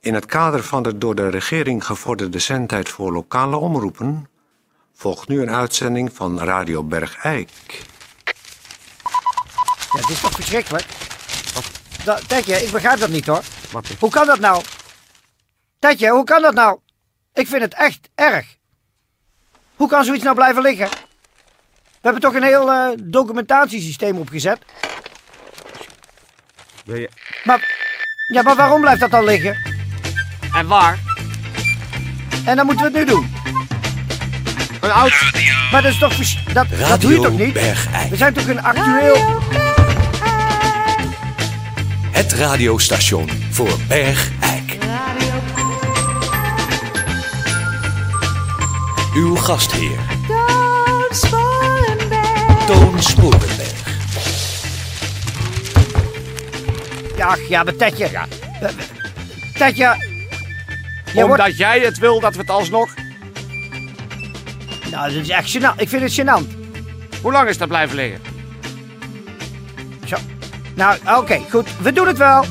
In het kader van de door de regering gevorderde zendtijd voor lokale omroepen volgt nu een uitzending van Radio Bergijk. Ja, dit is toch verschrikkelijk? Da- Tetje, ik begrijp dat niet hoor. Hoe kan dat nou? Tetje, hoe kan dat nou? Ik vind het echt erg. Hoe kan zoiets nou blijven liggen? We hebben toch een heel eh, documentatiesysteem opgezet? Wil je... Maar, ja, maar waarom blijft dat dan liggen? En waar? En dan moeten we het nu doen. Een oud... Maar dat is toch... vers- Dat, dat doe je toch niet? Bergijk. We zijn toch een actueel... Het radiostation voor Bergijk. Uw gastheer, Toon Sporenberg. Ja, ach, ja, maar Tetje... Eh, Tetje... Jij wordt- Omdat jij het wil dat we het alsnog... Nou, dat is echt gênant. Ik vind het gênant. Hoe lang is dat blijven liggen? Zo. Nou, oké, goed. We doen het wel.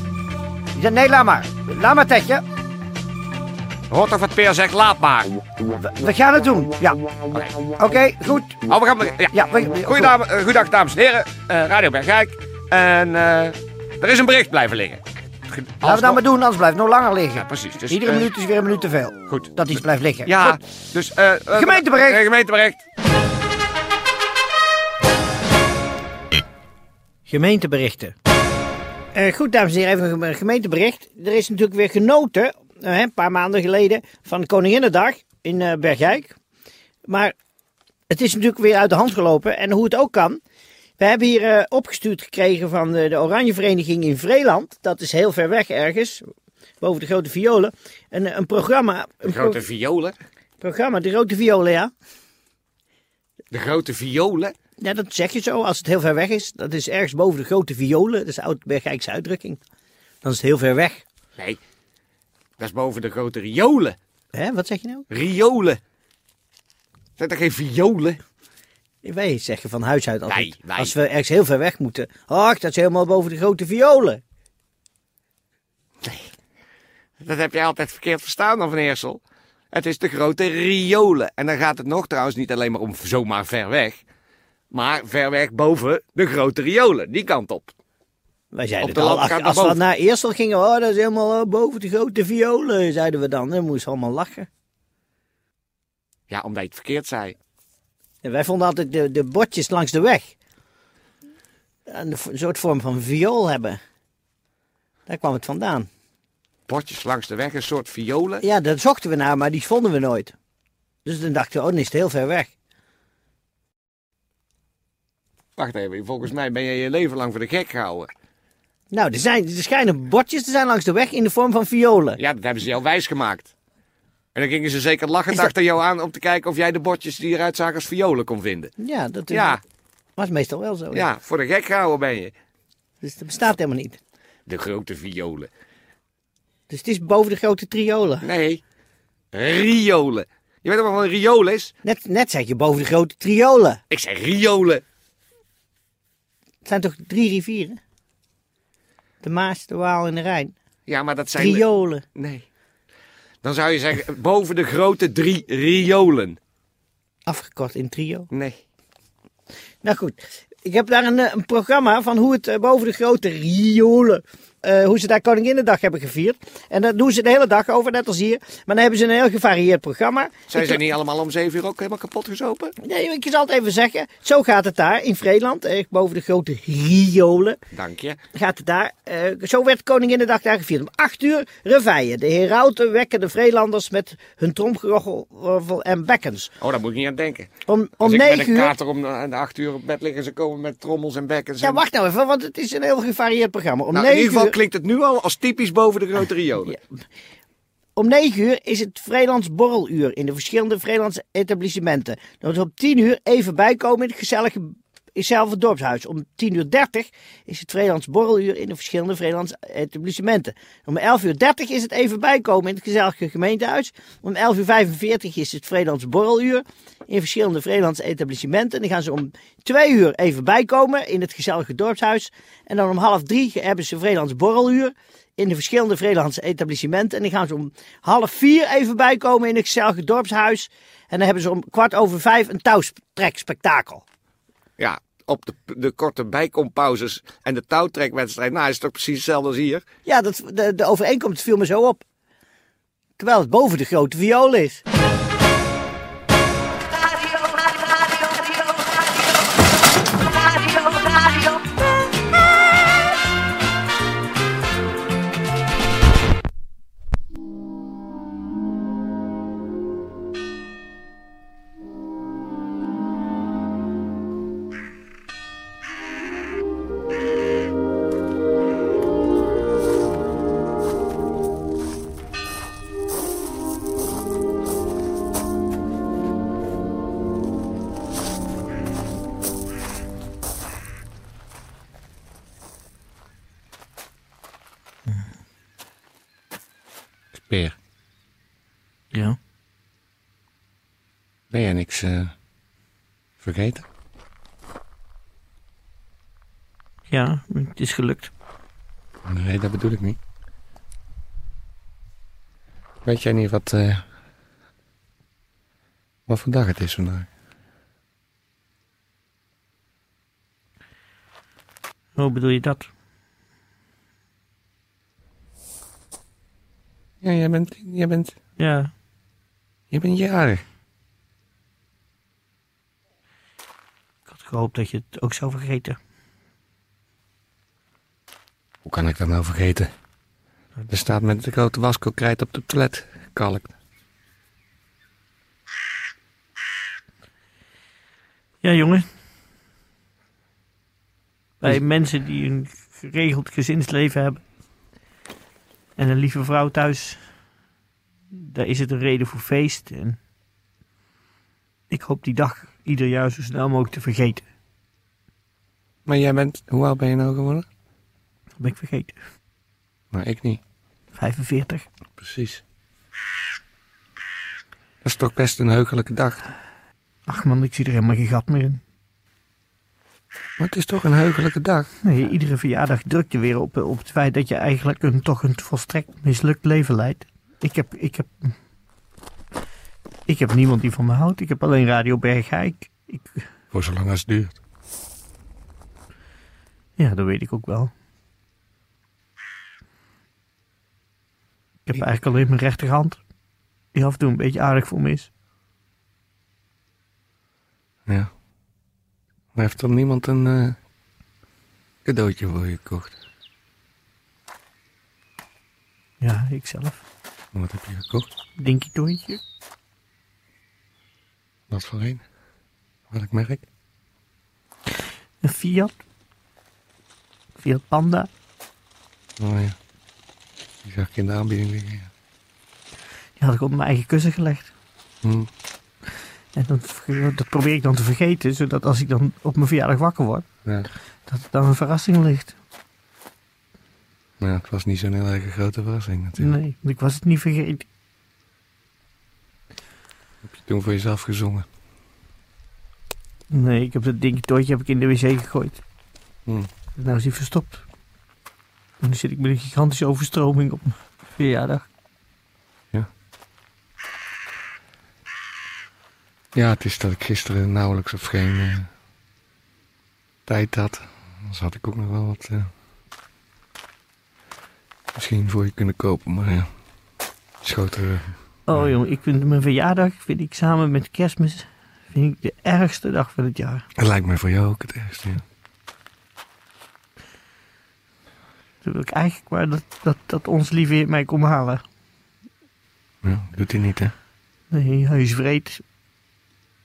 Ja, nee, laat maar. Laat maar, Tetje. Hoort toch wat Peer zegt, laat maar. Oh, We, we gaan het doen. Ja. Oké, goed. Oh, we gaan... be- Ja. Ja, we, Goeiedag, eh, goeiedag, dames en heren. Eh, Radio Bergijk. En eh, er is een bericht blijven liggen. Ge- Laten we dat alsnog- maar doen, anders blijft het nog langer liggen. Ja, precies. Dus, Iedere eh, minuut is weer een minuut te veel. Goed. Dat iets blijft liggen. Ja, Goed. dus... eh, eh, Gemeentebericht. eh, gemeentebericht. Gemeenteberichten. Eh, goed, dames en heren, even een gemeentebericht. Er is natuurlijk weer genoten, eh, een paar maanden geleden, van Koninginnedag in eh, Bergijk. Maar het is natuurlijk weer uit de hand gelopen. En hoe het ook kan. We hebben hier eh, opgestuurd gekregen van de, de Oranje Vereniging in Vreeland. Dat is heel ver weg ergens, boven de Grote Violen. Een, een programma. Een De grote pro- violen. programma, de Grote Violen, ja. De grote violen. Ja, dat zeg je zo. Als het heel ver weg is, dat is ergens boven de grote violen. Dat is een oud-Bergijkse uitdrukking. Dan is het heel ver weg. Nee, dat is boven de grote riolen. Hè, wat zeg je nou? Riolen. Zijn er geen violen? Wij zeggen van huis uit altijd. Wij, wij. Als we ergens heel ver weg moeten. Ach, dat is helemaal boven de grote violen. Dat heb jij altijd verkeerd verstaan dan, Van Eersel. Het is de grote riolen. En dan gaat het nog trouwens niet alleen maar om zomaar ver weg. Maar ver weg boven de grote riolen. Die kant op. Wij zeiden Op de het al, landkaart ach, als we daarboven. naar Eersel gingen, oh, dat is helemaal eh, boven de grote violen, zeiden we dan. Dan moesten we allemaal lachen. Ja, omdat je het verkeerd zei. En wij vonden altijd de, de bordjes langs de weg. Een v- soort vorm van viool hebben. Daar kwam het vandaan. Bordjes langs de weg, een soort violen. Ja, dat zochten we naar, maar die vonden we nooit. Dus dan dachten we, oh, dan is het heel ver weg. Wacht even, volgens mij ben je je leven lang voor de gek gehouden. Nou, er, zijn, er schijnen bordjes te zijn langs de weg in de vorm van violen. Ja, dat hebben ze jou wijsgemaakt. En dan gingen ze zeker lachend Is dat- achter jou aan om te kijken of jij de bordjes die eruit zagen als violen kon vinden. Ja, dat is- Ja, was meestal wel zo. ja, voor de gek gehouden ben je. Dus dat bestaat helemaal niet. De grote violen. Dus het is boven de grote triolen. Nee, riolen. Je weet toch wel wat een riool is? Net, net zei je boven de grote triolen. Ik zei riolen. Het zijn toch drie rivieren? De Maas, de Waal en de Rijn. Ja, maar dat zijn... Triolen. Nee. Dan zou je zeggen, boven de grote drie riolen. Afgekort in trio. Nee. Nou goed, ik heb daar een, eh, een programma van hoe het eh, boven de grote riolen. eh, hoe ze daar Koninginnedag hebben gevierd. En dat doen ze de hele dag over, net als hier. Maar dan hebben ze een heel gevarieerd programma. Zijn Ik- ze niet allemaal om zeven uur ook helemaal kapot gezopen? Nee, ik zal het even zeggen. Zo gaat het daar in Vreeland, eh, boven de grote riolen. Dank je. Gaat het daar. eh, zo werd Koninginnedag daar gevierd. Om acht uur reveille. De herauten wekken de Vreelanders met hun tromgeroffel en bekkens. Oh, daar moet ik niet aan denken. Om, Als om Dus ik met negen een uur. kater om eh, de acht uur op bed liggen, ze komen met trommels en bekkens. Ja, en- wacht nou even, want het is een heel gevarieerd programma. Om Nou, in negen ieder geval uur... klinkt het nu al als typisch boven de grote riolen. Om 9 uur is het Vreelands borreluur in de verschillende Vreelands etablissementen. Dan is op 10 uur even bijkomen in het gezellige hetzelfde dorpshuis. Om 10 uur 30 is het Vreelands borreluur in de verschillende Vreelands etablissementen. Om 11 uur 30 is het even bijkomen in het gezellige gemeentehuis. Om 11 uur 45 is het Vreelands borreluur in verschillende Vreelands etablissementen. Dan gaan ze om 2 uur even bijkomen in het gezellige dorpshuis. En dan om half 3 hebben ze Vreelands borreluur in de verschillende Vredelandse etablissementen. En die gaan ze om half vier even bijkomen in het gezellige dorpshuis. En dan hebben ze om kwart over vijf een touwtrekspektakel. Ja, op de, de korte bijkompauzes en de touwtrekwedstrijd. Nou, is toch precies hetzelfde als hier? Ja, dat, de, de overeenkomst viel me zo op. Terwijl het boven de grote viool is. Radio, radio, radio, radio, radio, radio, radio. Peer, Ja. ben jij niks eh, vergeten? Ja, het is gelukt. Nee, dat bedoel ik niet. Weet jij niet wat, eh, wat voor dag het is vandaag? Hoe bedoel je dat? Ja, jij bent, jij bent, Ja. jij bent jarig. Ik had gehoopt dat je het ook zou vergeten. Hoe kan ik dat nou vergeten? Er staat met de grote waskokrijt op de toilet gekalkt. Ja, jongen. Bij mensen die een geregeld gezinsleven hebben en een lieve vrouw thuis, daar is het een reden voor feest. En ik hoop die dag ieder jaar zo snel mogelijk te vergeten. Maar jij bent, hoe oud ben je nou geworden? Dat ben ik vergeten. Nou, ik niet. 45. Precies. Dat is toch best een heugelijke dag. Ach man, ik zie er helemaal geen gat meer in. Maar het is toch een heugelijke dag. Nee, iedere verjaardag drukt je weer op, op het feit dat je eigenlijk een, toch een volstrekt mislukt leven leidt. Ik heb, ik heb, ik heb niemand die van me houdt. Ik heb alleen Radio Bergijk. Ik, Voor zolang als het duurt. ja, dat weet ik ook wel. Ik heb eigenlijk alleen mijn rechterhand. Die af en toe een beetje aardig voor me is. Ja. Maar heeft dan niemand een eh, cadeautje voor je gekocht? Ja, ikzelf. Wat heb je gekocht? Dinky toontje. Wat voor een? Welk merk? Een Fiat. Fiat Panda. Oh ja. Die zag ik in de aanbieding liggen. ja. Die had ik op mijn eigen kussen gelegd. Hm. En dat, dat probeer ik dan te vergeten, zodat als ik dan op mijn verjaardag wakker word, Ja. dat het dan een verrassing ligt. Nou, het was niet zo'n heel erg grote verrassing natuurlijk. Nee, want ik was het niet vergeten. Heb je toen voor jezelf gezongen. Nee, ik heb dat ding toortje heb ik in de wc gegooid. Hm. En nou is hij verstopt. En nu zit ik met een gigantische overstroming op mijn verjaardag. Ja, het is dat ik gisteren nauwelijks of geen eh, tijd had. Anders had ik ook nog wel wat eh, misschien voor je kunnen kopen. Maar ja, eh, schoot er... Oh jongen, ik vind mijn verjaardag, vind ik samen met kerstmis, vind ik de ergste dag van het jaar. Het lijkt mij voor jou ook het ergste. Ja. Toen wil ik eigenlijk maar dat, dat, dat ons lieve heer mij komt halen. Ja, doet hij niet, hè? Nee, hij is vreed.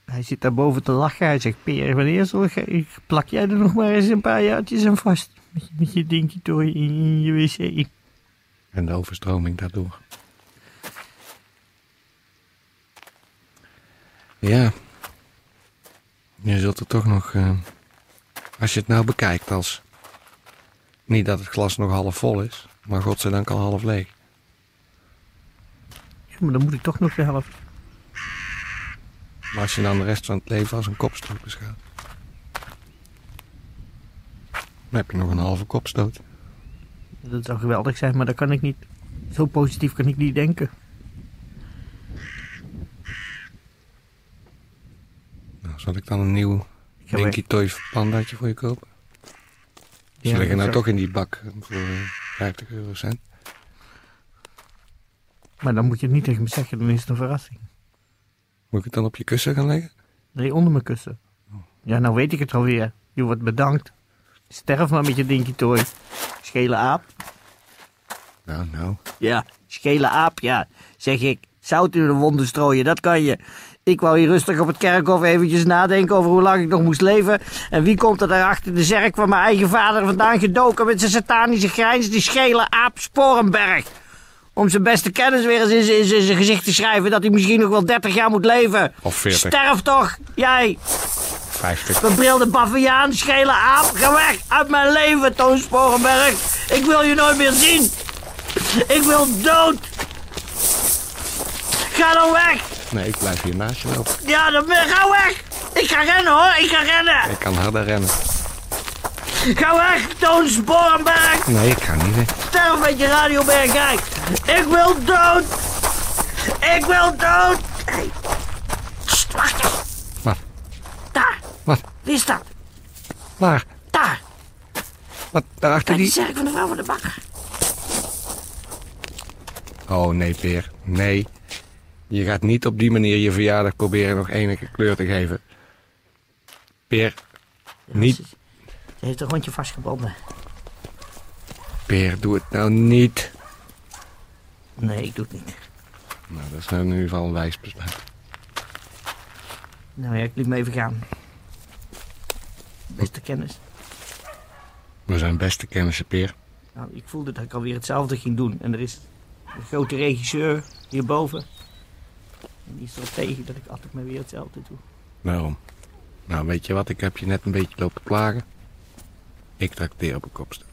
Hij zit daarboven te lachen. Hij zegt, Peer, wanneer zal je, plak jij er nog maar eens een paar jaartjes aan vast? Met, je- met je dinkie door in, in je wc. En de overstroming daardoor. Ja. Je zult er toch nog... eh, als je het nou bekijkt als... Niet dat het glas nog half vol is, maar godzijdank al half leeg. Ja, maar dan moet ik toch nog de helft. Maar als je dan de rest van het leven als een kopstoot beschouwt... Dan heb je nog een halve kopstoot. Dat zou geweldig zijn, maar dat kan ik niet. Zo positief kan ik niet denken. Nou, zal ik dan een nieuw Ik heb Dinky Toy pandaatje voor je kopen? Ze Ja, liggen nou zo. toch in die bak voor eh, 50 eurocent. Maar dan moet je het niet tegen me zeggen, dan is het een verrassing. Moet ik het dan op je kussen gaan leggen? Nee, onder mijn kussen. Oh. Ja, nou weet ik het alweer. Je wordt bedankt. Sterf maar met je dinky toy. Schele aap. Nou, nou. Ja, schele aap, ja. Zeg ik, zout in de wonden strooien, dat kan je. Ik wou hier rustig op het kerkhof eventjes nadenken over hoe lang ik nog moest leven. En wie komt er daar achter de zerk van mijn eigen vader vandaan gedoken met zijn satanische grijns, die schele aap Sporenberg. Om zijn beste kennis weer eens in zijn- in zijn- in zijn gezicht te schrijven dat hij misschien nog wel 30 jaar moet leven. Of 40. Sterf toch, jij, 50. bebrilde baviaan, schele aap. Ga weg uit mijn leven, Toon Sporenberg. Ik wil je nooit meer zien. Ik wil dood. Ga dan weg. Nee, ik blijf hier naast je lopen. Ja, dan ben- ga weg. Ik ga rennen hoor, ik ga rennen. Ik kan harder rennen. Ga weg, Toon Sporenberg. Nee, ik ga niet weg. Sterf met je radio kijk. Ik wil dood. Ik wil dood. Hey. Sst, wacht even. Wat? Daar. Wat? Wie is dat? Waar? Daar. Wat? Daarachter Bij die die? zerk van de vrouw van de bakker. Oh nee, Peer. Nee. Je gaat niet op die manier je verjaardag proberen nog enige kleur te geven. Peer. Niet. Ze heeft een rondje vastgebonden. Peer, doe het nou niet. Nee, ik doe het niet. Nou, dat is nou in ieder geval een wijs besluit. Nou ja, ik liet me even gaan. Beste kennis. We zijn beste kennissen, Peer. Nou, ik voelde dat ik alweer hetzelfde ging doen. En er is een grote regisseur hierboven. En die is erop tegen dat ik altijd maar weer hetzelfde doe. Waarom? Nou, weet je wat? Ik heb je net een beetje lopen plagen. Ik trakteer op een kopstoot.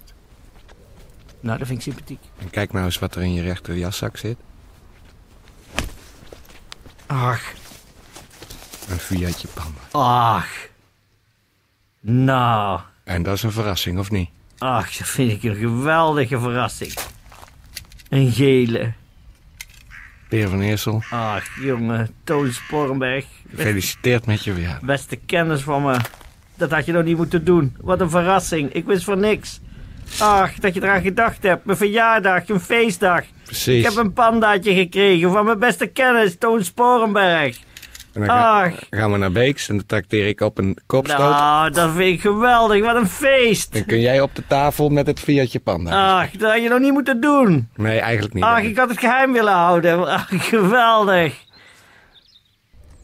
Nou, dat vind ik sympathiek. En kijk nou eens wat er in je rechter jaszak zit. Ach, Een Fiatje Panda. ach. Nou, En dat is een verrassing, of niet? ach, dat vind ik een geweldige verrassing. Een gele. Peer van Eersel, Ach, jongen, Toon Sporenberg. gefeliciteerd met je verjaardag. Beste kennis van me. Dat had je nog niet moeten doen. Wat een verrassing. Ik wist voor niks. Ach, dat je eraan gedacht hebt. Mijn verjaardag, een feestdag. Precies. Ik heb een pandaatje gekregen van mijn beste kennis, Toon Sporenberg. En dan ga- Ach, gaan we naar Beeks en dan trakteer ik op een kopstoot. nou, dat vind ik geweldig. Wat een feest. Dan kun jij op de tafel met het Fiatje Panda. Ach, dat had je nog niet moeten doen. Nee, eigenlijk niet. Ah. Ach, ik had het geheim willen houden. Ach, geweldig.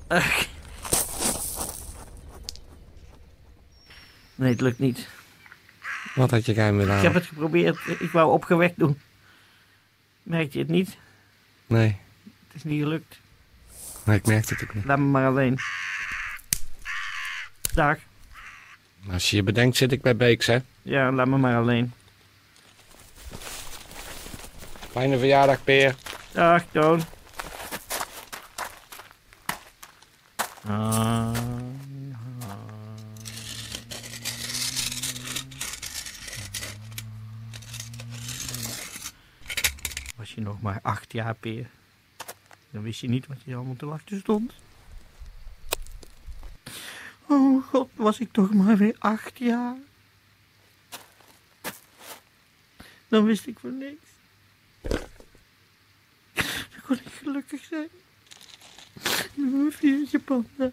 Ach. Nee, het lukt niet. Wat had je geheim willen Ik heb houden? het geprobeerd. Ik wou opgewekt doen. Merk je het niet? Nee, Het is niet gelukt. nee, ik merkte het ook niet. Laat me maar alleen. Dag. Als je je bedenkt zit ik bij Beeks, hè. Ja, laat me maar alleen. Fijne verjaardag, Peer. Dag, Toon. Ah, Was je nog maar acht jaar, Peer? Dan wist je niet wat je allemaal te wachten stond. Oh god, was ik toch maar weer acht jaar? Dan wist ik voor niks. Dan kon ik gelukkig zijn. Met mijn viertje panda.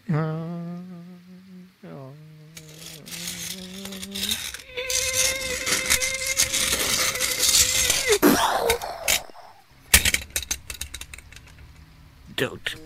Dood.